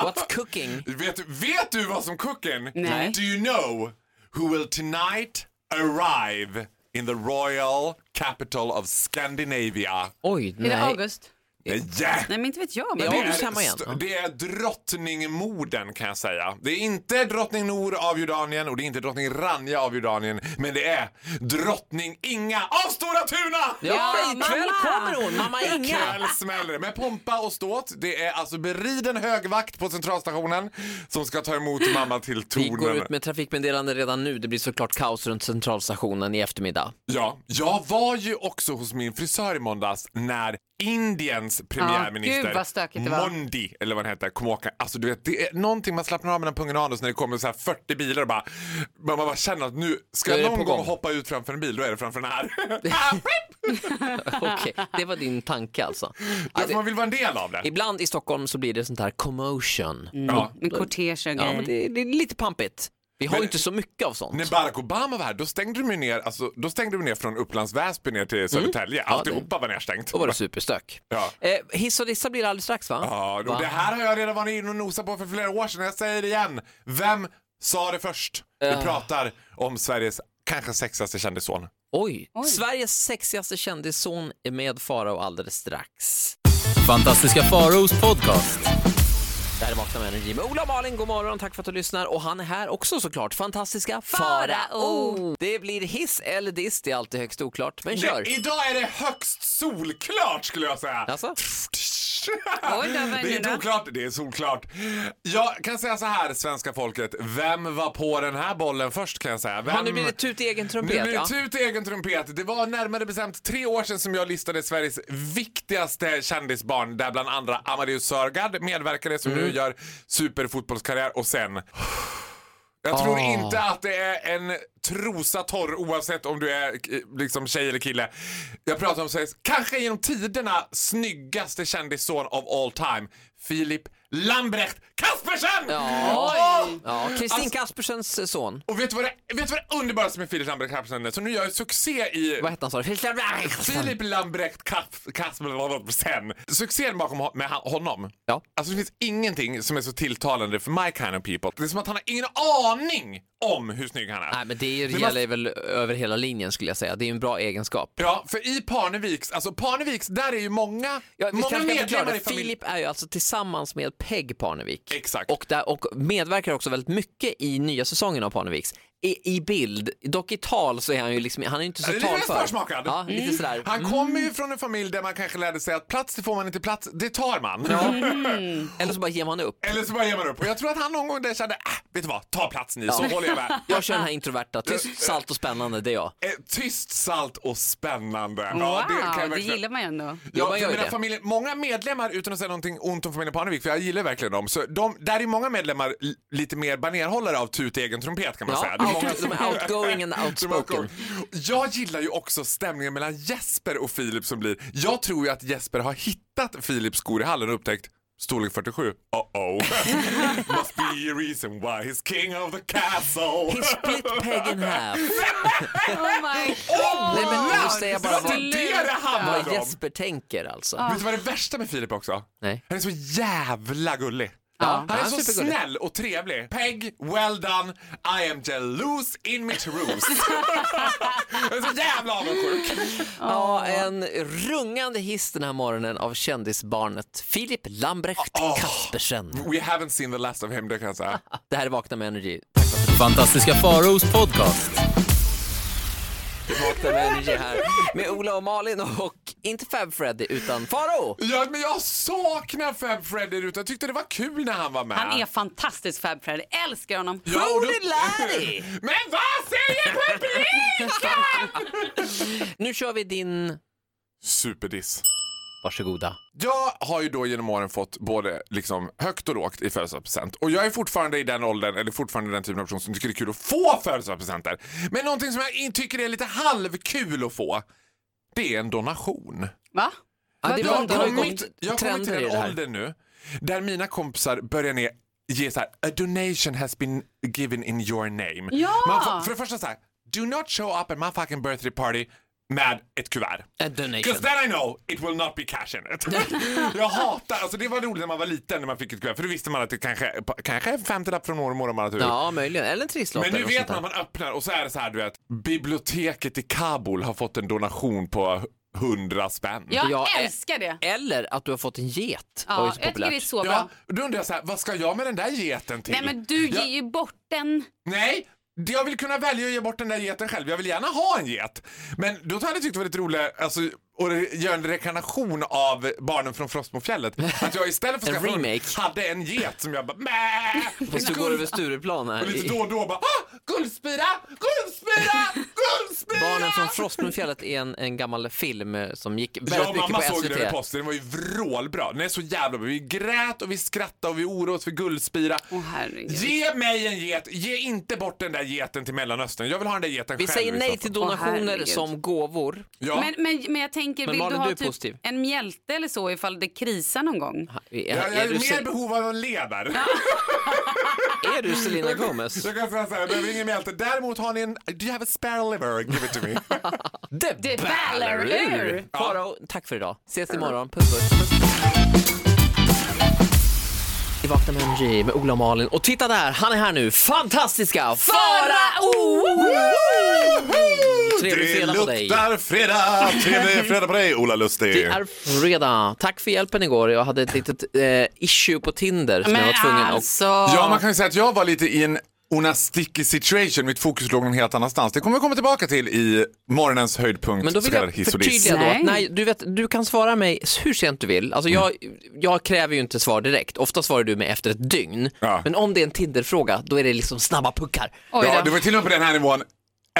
B: What's cooking?
D: Vet, du- vet du vad som kucken?
C: Nej.
D: Do you know who will tonight arrive in the royal capital of Scandinavia?
B: Oj,
C: Är det
B: nej.
C: August?
D: Yeah.
C: Nej men inte vet jag. Men
B: Ja.
C: det,
B: August hemma igen.
D: st-
B: Ja.
D: det är drottningmorden kan jag säga. Det är inte drottning Nor av Jordanien och det är inte drottning Ranja av Jordanien. Men det är drottning Inga av Stora Tuna!
B: Ja,
C: Ja,
B: ikväll
C: mamma!
B: kommer hon, mamma Inga!
D: Ikväll smäller det. Med pompa och ståt. Det är alltså beriden högvakt på centralstationen som ska ta emot mamma till
B: Vi
D: tronen.
B: går ut med trafikmeddelande redan nu. Det blir såklart kaos runt centralstationen i eftermiddag.
D: Ja, jag var ju också hos min frisör i måndags när Indiens premiärminister
C: gud vad stökigt det var.
D: Mondi, eller vad han heter, kom åka. Alltså du vet, det är någonting man slappnar av mellan pungen och anus när det kommer så här 40 bilar och bara, man bara känner att nu ska
B: Då är det
D: jag någon
B: på
D: gång
B: gång.
D: hoppa ut framför en bil, då är det framför den
B: [laughs]
D: här.
B: Okej, det var din tanke alltså. Ja,
D: Alltså,
B: det,
D: man vill vara en del av det.
B: ibland i Stockholm så blir det sånt här commotion.
D: Ja.
C: med kortege
B: Ja,
C: och
D: Eh,
C: grejer.
B: men det, det är lite pampigt. Vi har ju inte så mycket av sånt.
D: När Barack Obama var här, då stängde de ju ner, alltså, då stängde de ner från Upplands Väsby ner till Södertälje.
B: Mm. Ja,
D: Alltihopa var nerstängt.
B: Då var det superstök.
D: Ja.
B: Eh, hiss och dissa blir det alldeles strax va?
D: Ja, och
B: Va?
D: det här har jag redan varit inne och nosat på för flera år sedan. Jag säger det igen. Vem sa det först? Vi pratar om Sveriges kanske sexigaste kändisson.
B: Oj. Sveriges sexigaste kändisson är med Farao alldeles strax.
E: Fantastiska Faraos podcast.
B: Det här är Vakna med Energy med Ola och Malin. God morgon, tack för att du lyssnar. Och han är här också såklart. Fantastiska Farao. Det blir hiss eller diss, det är alltid högst oklart. Men kör.
D: Det, idag är det högst solklart skulle jag säga. [laughs]
B: Alltså?
C: Oj, där var
D: det är
C: ingen
D: inte
C: då.
D: oklart, det är solklart. Jag kan säga så här, svenska folket. Vem var på den här bollen först kan jag säga? Vem...
B: Ja, nu blir det tut i egen trumpet.
D: Nu blir
B: ja.
D: Mm. det tut i egen trumpet. Det var närmare bestämt tre år sedan som jag listade Sveriges viktigaste kändisbarn där bland andra Amadeus Sörgard medverkade som
B: Mm.
D: nu gör superfotbollskarriär och sen jag tror
B: Ah.
D: inte att det är en trosa torr oavsett om du är eh, liksom tjej eller kille. Jag pratar om Sveriges kanske genom tiderna snyggaste kändisson of all time. Filip Lambrecht Kaspersen!
B: Ja.
D: Åh!
B: Ja, Kristin
D: Alltså-
B: Kaspersens son.
D: Och vet du vad det, vet du vad det underbaraste med Filip Lambrecht Kaspersen är? Som nu gör succé i...
B: Vad hette han sa du? Filip
D: Filip Lambrecht Kas- Kaspersen. Succén bakom ho- med han- honom.
B: Ja.
D: Alltså det finns ingenting som är så tilltalande för my kind of people. Det är som att han har ingen aning om hur snygg han är.
B: Nej, men det är ju-
D: Men
B: gäller väl över hela linjen skulle jag säga. Det är ju en bra egenskap.
D: Ja, för i Parneviks, alltså Parneviks, där är ju många,
B: Ja, vi
D: många
B: kanske kan förklara
D: medlemmar i
B: det.
D: familjen.
B: Filip är ju alltså tillsammans med Peg Parnevik.
D: Exakt.
B: Och, där, och medverkar också väldigt mycket i nya säsongen av Parneviks. I, I bild, dock i tal så är han ju liksom, han är ju inte så
D: Lite mer
B: talför.
D: sparsmakad.
B: Ja, lite sådär.
D: Han kommer
B: Mm.
D: ju från en familj där man kanske lärde sig att plats, det får man inte plats, det tar man. [laughs]
B: Eller så bara ger man upp.
D: Eller så bara ger man upp. Och jag tror att han någon gång där kände, äh, vet du vad, ta plats ni så håller jag med.
C: [laughs]
B: Jag kör den här introverta, tyst, salt och spännande, det är jag.
D: Eh, Tyst, salt och spännande.
C: Wow,
D: Ja, det kan jag
C: det
D: verkligen-
C: gillar man
B: [laughs]
C: ju ändå.
B: Ja,
D: Ja,
B: man
D: för
B: gör ju
D: mina
B: det.
D: familjer, många medlemmar, utan att säga någonting ont om familjen Parnevik, för jag gillar verkligen dem, så de, där är många medlemmar li- lite mer banerhållare av tut i egen trumpet kan man
B: Ja,
D: säga. Det är
B: out-
D: många
B: de är outgoing and
D: [laughs] De är
B: outspoken.
D: outgoing. Jag gillar ju också stämningen mellan Jesper och Filip som blir, jag tror ju att Jesper har hittat Filips skor i hallen och upptäckt Storlek 47, uh-oh. [laughs] Must be a reason why he's king of the
B: He
D: castle.
B: split Peg in
D: [laughs]
B: half.
C: Oh my
D: Oh,
B: Nej, men nu
D: Lars,
B: säger jag bara
D: det var
B: vad-
D: det det handlade
B: Vad
D: om.
B: Jesper tänker alltså.
D: Vet du vad det värsta med Filip också?
B: Nej.
D: Han är så jävla gullig.
B: Ja,
D: han är
B: han är
D: så
B: supergullig.
D: snäll och trevlig. Peg, well done, I am jealous in
B: [laughs]
D: my truth. jag är så jävla avundsjuk.
B: Ja, en rungande hiss den här morgonen av kändisbarnet Filip Lambrecht
D: Åh.
B: Kaspersen.
D: We haven't seen the last of him, det kan jag säga.
B: Det här är Vakna med Energy.
E: Fantastiska Faraos podcast.
B: Vakna med Energy här med Ola och Malin och inte Fab Freddy utan Faro.
D: Ja, men jag saknar Fab Freddy Ruta. Jag tyckte det var kul när han var med.
C: Han är fantastisk Fab Freddy, älskar honom.
D: Ja, och då-
B: Holy Larry!
D: [laughs] Men vad säger publiken?
B: Nu kör vi din...
D: Superdiss.
B: Varsågoda.
D: Jag har ju då genom åren fått både liksom högt och lågt i födelsedagspresent. Och jag är fortfarande i den åldern, eller fortfarande den typen av person som tycker det är kul att få födelsedagspresenter. Men någonting som jag in- tycker är lite halvkul att få, det är en donation.
C: [laughs] Va?
B: Ja, det
C: Vadå?
B: var-
D: Jag
B: det
D: har
B: har ju gått
D: kommit, jag har kommit till
B: trender i det
D: en
B: här.
D: ålder nu där mina kompisar börjar ner, ge så här, a donation has been given in your name.
C: Ja!
D: Man får, för det första så här, do not show up at my fucking birthday party med ett kuvert.
B: A Eh, donation.
D: Because then I know it will not be cash in
C: [laughs]
D: it. jag hatar, alltså det var roligt när man var liten när man fick ett kuvert för då visste man att det kanske, kanske är 50 lapp från mormor om man har tur.
B: Ja, möjligen. Eller en trisslott
D: Men nu
B: eller något
D: vet
B: sånt
D: man,
B: där.
D: man öppnar och så är det så här du vet, biblioteket i Kabul har fått en donation på 100 spänn.
C: Jag
B: Ja, eh,
C: älskar det.
B: Eller att du har fått en get.
C: Ja,
B: Var ju
C: jag
B: så
C: tycker det är
B: populärt.
C: så bra.
D: Ja, då undrar jag så här, vad ska jag med den där geten till?
C: Nej men du
D: jag,
C: ger ju bort den.
D: Nej, det- jag vill kunna välja att ge bort den där geten själv. Jag vill gärna ha en get. Men då hade jag tyckt det var lite roligt alltså, att göra en rekarnation av Barnen från Frostmofjället. Att jag istället
B: [laughs]
D: för
B: En
D: att skaffa hund
B: remake.
D: hade en get som jag
B: [laughs]
D: bara mäh!
B: Fast du går över Stureplan
D: Och
B: här.
D: lite
B: i-
D: då och då bara ah, guldspira,
B: [laughs]
D: guldspira, guldspira!
B: Barnen från Frostmofjället är en, en gammal film eh, som gick väldigt
D: Jag och
B: mycket
D: mamma
B: på SVT.
D: såg den över posten, den var ju vrålbra. Den är så jävla bra. Vi grät och vi skrattade och vi oroade oss för guldspira.
B: Oh
C: Åh herregud.
D: Ge mig en get! Ge inte bort den där geten till Mellanöstern. Jag vill ha den där geten
B: Vi
D: själv.
B: säger
D: i så
B: nej
D: fall.
B: till
C: Åh,
B: donationer
C: herregud.
B: som gåvor.
D: Ja.
C: Men, men, men jag tänker,
B: Men
C: vill
B: Malin,
C: du ha
B: du är
C: typ
B: positiv.
C: en mjälte eller så ifall det krisar någon gång?
B: Är,
D: jag, jag
B: är,
D: är
B: du,
D: mer
B: Sel-
D: behov av en lever.
B: är du Selena
C: [laughs]
B: Gomez?
D: Jag kan säga [laughs] så här, jag behöver ingen mjälte. Däremot har ni en... Do you have a spare liver? Give it to me.
B: The
C: Ballerur.
B: Faro, tack för idag. Ses imorgon. Puss puss. puss. Vi vaknar med MJ med Ola och Malin och titta där, han är här nu. Fantastiska Farao! Trevlig fredag på dig.
D: fredag! Trevlig fredag på dig, Ola Lustig.
B: Det är fredag. Tack för hjälpen igår. Jag hade ett litet eh, issue på Tinder som jag var tvungen att...
C: alltså.
D: Ja, man kan ju säga att jag var lite i en Una sticky situation, mitt fokus låg någon helt annanstans. Det kommer vi komma tillbaka till i morgonens höjdpunkt,
B: Men då vill
D: så kallad
B: jag
D: hiss och diss.
B: förtydliga då.
C: Nej.
B: att Nej, du, vet, du kan svara mig hur sent du vill. Alltså jag, jag kräver ju inte svar direkt. Ofta svarar du mig efter ett dygn.
D: Ja.
B: Men om det är en Tinder-fråga, då är det liksom snabba puckar.
C: Oj då.
D: Ja, det var till och med på den här nivån.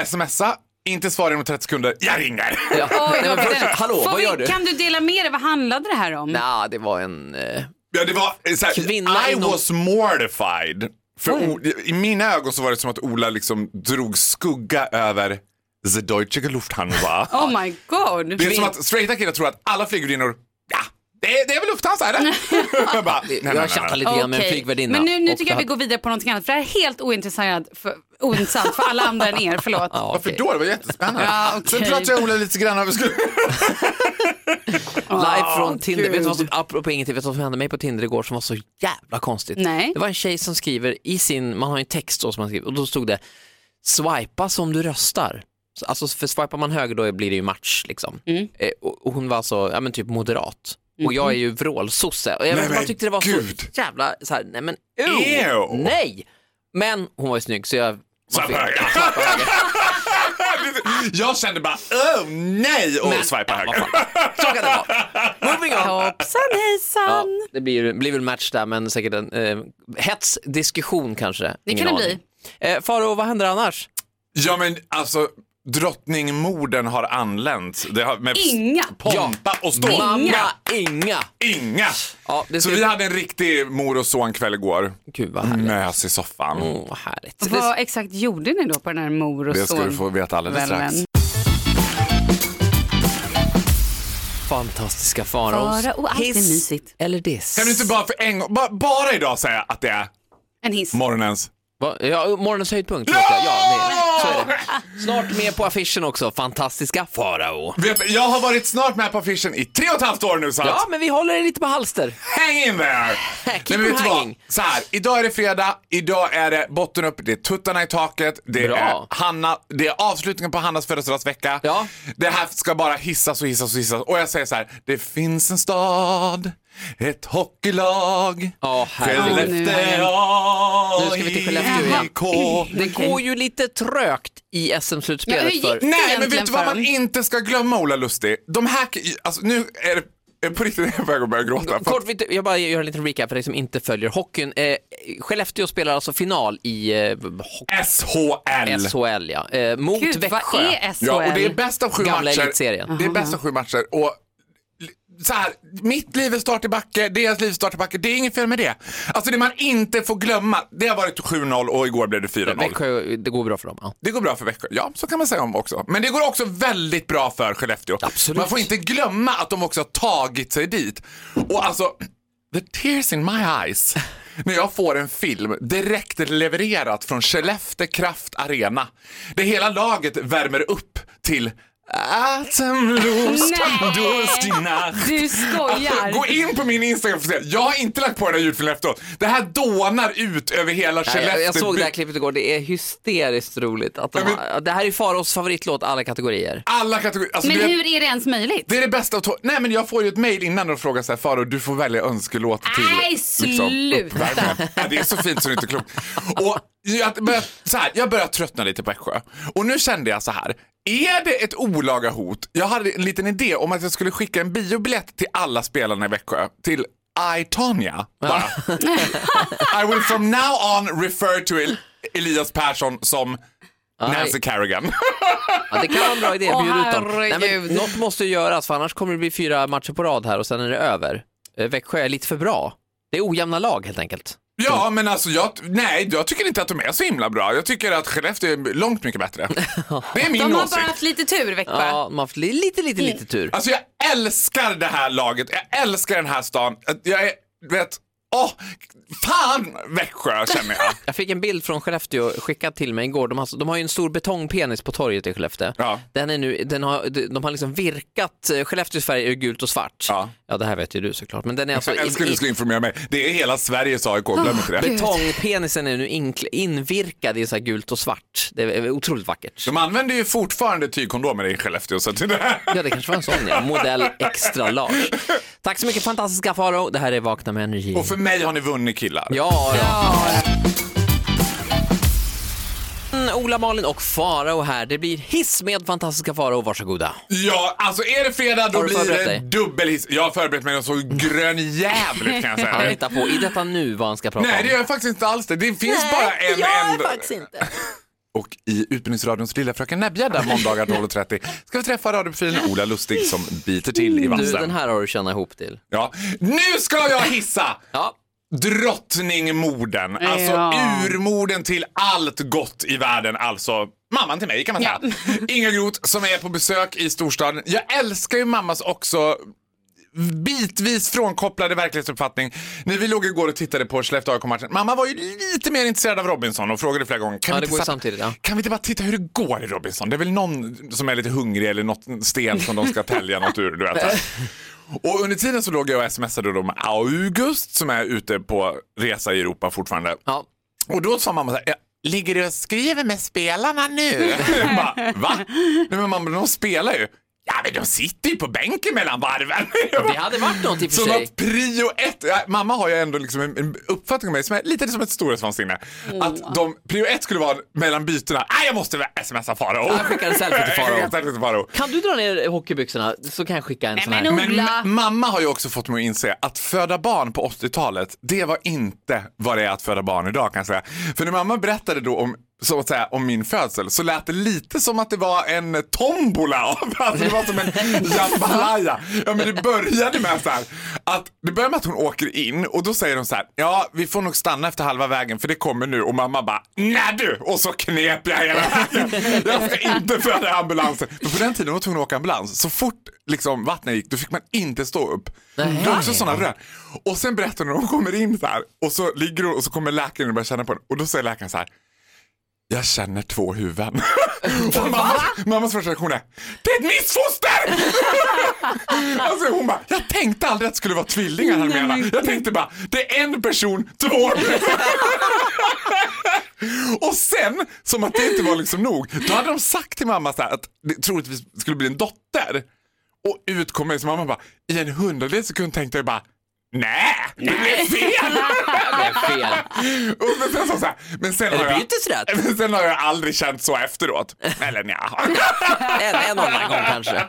D: Smsa, inte svara inom 30 sekunder, jag ringer!
B: [laughs] Ja.
C: Oj,
B: Nej, men
C: vad
B: först,
C: den-
B: hallå,
C: Får
B: vad
C: vi-
B: gör du?
C: Kan du dela med dig? Vad handlade det här om?
B: Nja, det var en... Eh,
D: Ja, det var eh, såhär,
B: Kvinna
D: I
B: inom-
D: was mortified. För o, I mina ögon så var det som att Ola liksom drog skugga över the deutsche Lufthansa.
B: [laughs]
C: Oh my god.
D: det är som att straighta killar tror att alla flygvärdinnor, ja, Det är, det är väl Lufthansa
B: [laughs]
D: eller? jag bara, nej, nej,
B: jag
D: nej,
B: har chattat
D: nej.
B: lite grann med en
C: Okej.
B: flygvärdinna.
C: Men nu, nu
B: och
C: tycker jag vi
B: det
C: går vidare på någonting annat för det här är helt ointressant för, ointressant för alla andra
B: [laughs]
C: än er. Förlåt.
B: Ja,
F: Varför
B: okej.
F: då? Det var jättespännande.
C: Ja, okej.
F: Sen pratade jag och Ola lite grann om vi
B: [laughs]
F: skulle...
B: Live från Tinder.
C: Ah, Gud.
B: Vet du vad som, apropå ingenting, vet du vad som hände mig på Tinder igår som var så jävla konstigt?
C: Nej.
B: Det var en tjej som skriver i sin, man har ju en text då som man skriver, och då stod det swipa som du röstar. Så, Alltså för swipar man höger då blir det ju match liksom.
C: Mm.
B: Eh, och, och hon var alltså, ja men typ moderat. Och
C: Mhm.
B: jag är ju vrålsosse. Och jag,
D: Nej, men
B: jag tyckte det var
D: gud.
B: så jävla, så här, nej men
D: Ew.
B: nej! Men hon var ju snygg så jag... man fick-
D: Swipa höger. [laughs] Jag kände bara, oh nej, och
B: Men-
D: swipa höger.
B: Vad fan. Så kan det
D: [laughs]
B: vara. Moving on.
C: Hoppsan
B: Ja,
C: hejsan.
B: det blir, blir väl match där, men säkert en eh, hetsdiskussion kanske. Det
C: kan det
B: Eh, Faro, vad händer annars?
D: Ja men alltså, drottningmorden har anlänt. Det har, med
C: Inga.
D: Pompa och
C: Inga.
D: ståt.
B: Mamma Inga!
D: Inga.
B: Ja, det
D: Så
B: ska...
D: vi hade en riktig mor och son kväll igår.
B: Gud vad härligt. Mm.
D: Mös i soffan.
B: Åh, vad härligt.
C: Vad exakt gjorde ni då på den här mor och
D: Det ska
C: son?
D: du få veta alldeles strax.
C: kvällen?
B: Fantastiska Faraos.
C: Farao, allt är
B: Hiss
C: mysigt.
B: Eller diss?
D: Kan du inte bara för en gång, bara, bara idag säga att det är
C: En hiss.
D: morgonens?
B: Va? Ja, morgonens höjdpunkt. Ja! Ja, det, så är det. Snart med på affischen också. Fantastiska Farao.
D: Vet, du, jag har varit snart med på affischen i tre och ett halvt år nu så att
B: Ja, men vi håller det lite på halster.
D: hang in there!
B: [laughs] keep
D: men
B: on
D: du vad?
B: hanging.
D: Så här, idag är det fredag, idag är det botten upp, det är tuttarna i taket, det
B: Bra.
D: är Hanna, det är avslutningen på Hannas födelsedagsvecka.
B: Ja.
D: Det här ska bara hissas och hissas och hissas och jag säger så här, det finns en stad, ett hockeylag,
B: Ja, herregud.
D: Skellefteå
B: Nu ska vi till Skellefteå igen.
D: IK.
B: Det går ju lite trögt i
C: Ja, hur
B: SM-slutspelet
C: gick
B: för...
C: det?
D: Nej, men
C: egentligen
D: vet du vad
C: för
D: man
C: dem?
D: inte ska glömma Ola Lustig? De här, alltså nu är det är på riktigt [laughs] jag är på väg att börja gråta. För-
B: Kort, vitt- jag bara gör en liten recap för dig som inte följer hockeyn. Eh, Skellefteå spelar alltså final i eh, hockey-
D: SHL.
B: SHL, ja. Eh, mot
C: Gud,
B: Växjö.
C: vad är SHL?
D: Ja, och det är bäst av sju
B: Gamla
D: matcher.
B: elitserien.
D: Det är bäst av sju matcher. Och l- så här, mitt liv är start i backe, deras liv är start i backe. Det är inget fel med det. Alltså det man inte får glömma, det har varit 7-0 och igår blev det 4-0.
B: Växjö, det går bra för dem. Ja.
D: Det går bra för Växjö, ja så kan man säga om också. Men det går också väldigt bra för Skellefteå.
B: Absolut.
D: Man får inte glömma att de också har tagit sig dit. Och alltså, the tears in my eyes. [laughs] När jag får en film direkt levererat från Skellefteå Kraft Arena. Det hela laget värmer upp till Atemlos,
C: Nej.
D: Dustina.
C: Du skojar.
D: Gå in på min Instagram för att se. Jag har inte lagt på den här ljudfilen efteråt. Det här dånar ut över hela
B: Nej,
D: Skellefteå.
B: jag, jag såg det här klippet igår, det är hysteriskt roligt. Att de
D: Nej, men-
B: har, det här är Faros favoritlåt alla kategorier.
D: Alla kategorier. Alltså,
C: Men
D: du vet-
C: hur är det ens möjligt?
D: Det är det bästa av to- Nej men jag får ju ett mail innan och frågar så här, Faro du får välja önskelåt till liksom,
C: Nej, sluta.
D: uppvärmningen." Nej, Det är så fint så det är inte klokt. Och jag börjar, så här, jag börjar tröttna lite på Växjö. Och nu kände jag så här, är det ett olaga hot? Jag hade en liten idé om att jag skulle skicka en biobiljett till alla spelarna i Växjö. Till I, Tanya. Bara. I will from now on refer to El- Elias Persson som Nancy Kerrigan.
B: Ja, det kan vara en bra idé,
C: Åh,
B: bjud ut dem. Nej, men,
C: herregud.
B: något måste ju göras för annars kommer det bli fyra matcher på rad här och sen är det över. Eh, Växjö är lite för bra. Det är ojämna lag helt enkelt.
D: Ja, men alltså jag, nej, jag tycker inte att de är så himla bra. Jag tycker att Skellefteå är långt
B: [laughs]
D: mycket bättre. Det är min
C: De har
D: åsikt.
C: bara haft lite tur Växjö.
B: Ja, man har haft li- lite, lite, lite tur.
D: Alltså jag älskar det här laget, jag älskar den här stan. Att Jag är, du vet, åh, fan Växjö känner
B: [laughs]
D: jag.
B: Jag fick en bild från Skellefteå skickad till mig igår. De har, alltså- de har ju en stor betongpenis på torget i Skellefteå.
D: Ja.
B: Den är nu, den har, de har liksom virkat, eh, Skellefteås färg är gult och svart.
D: Ja.
B: ja, det här vet ju du såklart. Men den är alltså...
D: Jag älskar att du skulle informera mig. Det är hela Sveriges AIK, glöm inte
B: Ah,
D: det.
B: betongpenisen är nu inkl, invirkad i så här gult och svart. Det är otroligt vackert.
D: De använder ju fortfarande tygkondomer i Skellefteå. Så att det där.
B: Ja, det kanske var en sån ja. Modell extra large. Tack så mycket fantastiska Faro. Det här är Vakna med energi.
D: Och för mig har ni vunnit killar.
B: Ja, ja. Mm, Ola, Malin och Farao här. Det blir hiss med fantastiska Farao. Varsågoda.
D: Ja, alltså är det fredag då
B: Har du
D: blir
B: förberett
D: det
B: dig?
D: dubbelhiss. Jag har förberett mig något så grönjävligt kan jag säga.
B: Han hittar på i detta nu vad han ska prata
D: Nej,
B: om.
D: det gör jag faktiskt inte alls det. Det finns bara en enda.
B: inte.
D: [laughs] Och i Utbildningsradions Lilla Fröken Näbbgädda måndagar 12.30 ska vi träffa radioprofilen Ola Lustig som biter till i
B: Du, den
D: vassen.
B: här har du tjänat ihop till.
D: Ja. Nu ska jag hissa!
B: Ja,
D: Drottningmorden, alltså
C: Ja.
D: urmorden till allt gott i världen, alltså mamman till mig kan man säga. Inga Groth som är på besök i storstaden. Jag älskar ju mammas också bitvis frånkopplade verklighetsuppfattning. När vi låg igår och tittade på Skellefteå AIK-matchen, mamma var ju lite mer intresserad av Robinson och frågade flera gånger. Kan
B: Ja,
D: vi
B: det
D: inte
B: går ju
D: satt-
B: samtidigt, ja.
D: Kan vi inte bara titta hur det går i Robinson? Det är väl någon som är lite hungrig eller något sten som de
B: [laughs]
D: ska tälja något ur. Du vet, så här. och under tiden så låg jag och smsade då med August som är ute på resa i Europa fortfarande.
B: Ja.
D: Och då sa mamma så här, "Ja, ligger du och skriver med spelarna nu? Jag bara, Va? Nej men mamma, de spelar ju. Ja men de sitter ju på bänken mellan varven. Jag bara,
B: Det hade varit något i och för
D: som
B: sig.
D: att prio ett, ja, mamma har ju ändå liksom en, en uppfattning om mig som är lite som ett storhetsvansinne. Att de, prio ett skulle vara mellan bytena, nej jag måste smsa Farao.
B: Jag skickar en selfie till Faro.
D: [laughs] Jag skickar en selfie till Faro.
B: Kan du dra ner hockeybyxorna så kan jag skicka en sån
C: men
B: här.
C: nog-
D: Men
C: Ola.
D: ma- mamma har ju också fått mig att inse att föda barn på 80-talet, det var inte vad det är att föda barn idag kan jag säga. För när mamma berättade då om så att säga, om min födsel så lät det lite som att det var en tombola. [laughs] av- Alltså det var som en [laughs] jambalaya. [laughs] Ja, men det började med så här, att det börjar med att hon åker in och då säger de så här, ja vi får nog stanna efter halva vägen för det kommer nu och mamma bara, nej du! Och så knep jag hela vägen. Jag ska inte föra ambulansen. Men på den tiden var hon tvungen att åka ambulans. Så fort liksom, vattnet gick då fick man inte stå upp. Det var också sådana rön. Och sen berättar hon när hon kommer in så här och så ligger hon och så kommer läkaren och börjar känna på den och då säger läkaren så här, jag känner två huvuden. Och mammas, mammas första reaktion är, det är ett missfoster! [laughs] alltså hon bara, jag tänkte aldrig att det skulle vara tvillingar här menar. Jag tänkte bara, det är en person, två huvuden. [laughs] Och sen, som att det inte var liksom nog, då hade de sagt till mamma så här att det troligtvis skulle bli en dotter. Och ut kom mig, så mamma bara, i en hundradels sekund tänkte jag bara, nej, det blev fel!
B: Det är fel.
D: Och men sen så, så här, men sen
B: Är
D: har
B: det
D: jag,
B: bytesrätt?
D: [laughs] Men sen har jag aldrig känt så efteråt.
B: [laughs]
D: Eller nja.
B: En, en annan gång kanske.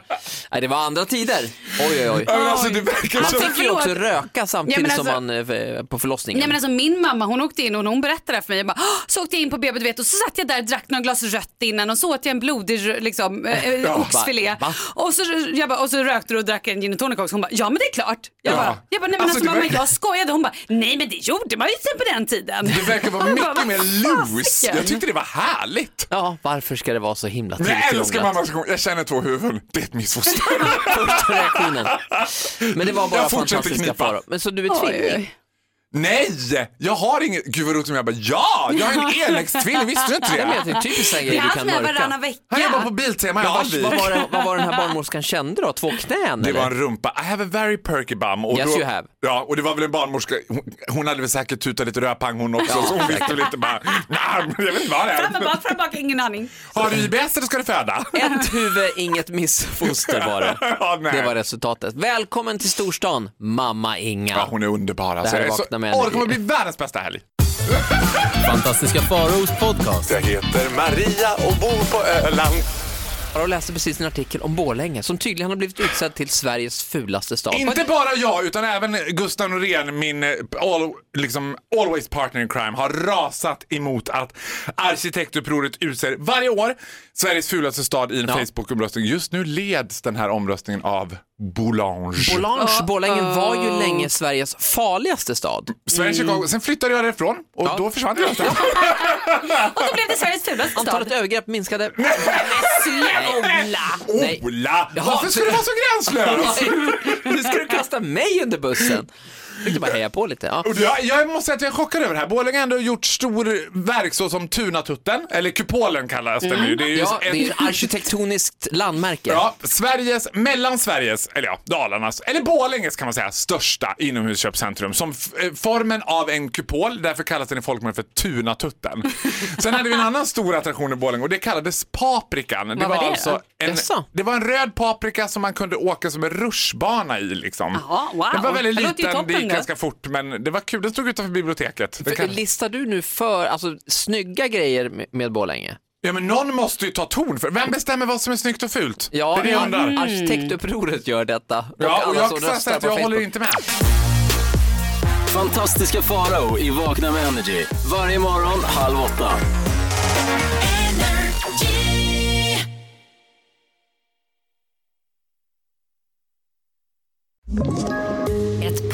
B: Nej, det var andra tider. Oj, oj,
D: Ja,
B: oj.
D: men alltså, det verkar
B: Man
D: som...
B: fick ju också röka samtidigt
C: Ja, men alltså-
B: som man eh, f- på förlossningen.
C: Nej men alltså min mamma hon åkte in och hon berättade det här för mig. Jag bara, "Åh!" så åkte jag in på BB du vet och så satt jag där och drack några glas rött innan och så åt jag en blodig rö- liksom, eh, eh,
D: Ja,
C: oxfilé.
B: va?
C: Och, så, jag bara, och så rökte du och drack en gin och tonic också. Hon bara, ja men det är klart. Jag
D: Ja.
C: bara, jag bara nej men
D: Alltså,
C: alltså
D: det
C: mamma
D: verkar-
C: jag skojade. Hon bara, nej men det gjorde man ju inte på den tiden.
B: Alltså,
D: Det
B: [laughs]
D: verkar vara
C: Jag bara,
D: mycket mer
C: "Vad
D: loose.
C: fasiken?"
D: Jag tyckte det var härligt.
C: alltså-
B: Ja, varför ska det vara så himla
D: Men
B: tidigt
D: jag älskar
B: krånglat?
D: mammas reaktion. Jag känner två huvuden. Det är ett missfoster.
B: Första reaktionen. Men det var bara
D: Jag fortsätter
B: fantastiska
D: knipa.
B: faror. Men så du är
C: Oj, oj,
B: tvilling?
C: oj.
D: [laughs] Nej, jag har inget. Gud vad roligt om jag bara ja, jag
B: [laughs]
D: är en enäggstvilling. Visste du inte
B: Jag menar,
D: det?
B: det är typiskt en
C: Det
B: grej
C: är
B: du
C: han
B: kan
C: som är
B: mörka.
C: varannan vecka.
D: Han jobbar på Biltema i
B: Ja, Vad, vad,
D: Vallvik.
B: var det, vad var den här barnmorskan kände då? Två knän
D: Det
B: eller?
D: var en rumpa. I have a very perky bum. Och
B: Yes, you have.
D: Ja, och det var väl en barnmorska. Hon, hon hade väl säkert tutat lite rödpang hon också. Så hon visste väl inte bara, nej, men jag vet inte vad det
C: Fram och
D: är.
C: bak, fram och bak, ingen aning.
D: Har du IBS eller ska du föda?
B: Ett huvud, inget missfoster var det.
D: [laughs] Ja, nej.
B: Det var resultatet. Välkommen till storstan, mamma Inga.
D: Ja, hon är underbar alltså.
B: här
D: Jag är så-
B: vaknar med
D: Åh, det
B: energi.
D: kommer bli världens bästa helg.
E: Fantastiska Faraos podcast.
D: Jag heter Maria och bor på Öland.
B: och läste precis en artikel om Borlänge som tydligen har blivit utsedd till Sveriges fulaste stad.
D: Inte bara jag, utan även Gustav Norén, min eh, all, liksom, always partner in crime, har rasat emot att arkitektupproret utser varje år Sveriges fulaste stad i en
B: Ja.
D: Facebookomröstning. Just nu leds den här omröstningen av Boulange.
B: Borlange, Borlänge var ju länge Sveriges farligaste stad.
D: Sverige, Chicago. Sen flyttade jag därifrån och då försvann jag.
C: Och då blev det Sveriges fulaste stad.
B: Antalet övergrepp minskade.
D: [laughs]
C: Sluta Ola.
B: [laughs] Nej.
D: Ola!
B: Jaha,
D: Varför ska
B: [laughs]
D: du vara så gränslös?
B: Nu ska du kasta mig under bussen. Jag tänkte bara heja på lite. Ja.
D: Och Jag, jag måste säga att jag är chockad över det här. Borlänge har ändå gjort stor verk så som Tunatutten, eller Kupolen kallas den nu. Det är ju
B: Mm. Ja, det är
D: ett,
B: ett arkitektoniskt landmärke.
D: ja, Sveriges, mellan Sveriges, eller ja, Dalarnas, eller Borlänges kan man säga, största inomhusköpcentrum. Som f- eh, formen av en kupol, därför kallas den i folkmun för
C: [laughs]
D: Tunatutten. Sen hade vi en annan stor attraktion i Borlänge och det kallades Paprikan. Det
C: Vad var det
D: alltså en,
B: Jaså?
D: det var en röd paprika som man kunde åka som en rutschbana i liksom.
C: Jaha, wow.
D: Den var väldigt
C: Det låter ju
D: liten, det
C: toppen
D: gick
C: då.
D: ganska fort men det var kul. Den stod utanför biblioteket. Den kan-
B: Listar du nu för alltså, snygga grejer med- med Borlänge?
D: Ja men någon måste ju ta ton för Vem bestämmer vad som är snyggt och fult?
B: Ja,
D: det är det jag undrar.
C: Mm.
B: arkitektupproret gör detta. Och
D: Ja, och
B: alla
D: jag
B: som
D: kan säga
B: röstar
D: att
B: på
D: jag
B: Facebook.
D: håller inte med.
E: Fantastiska Farao i Vakna med Energy. Varje morgon halv åtta.
A: Ett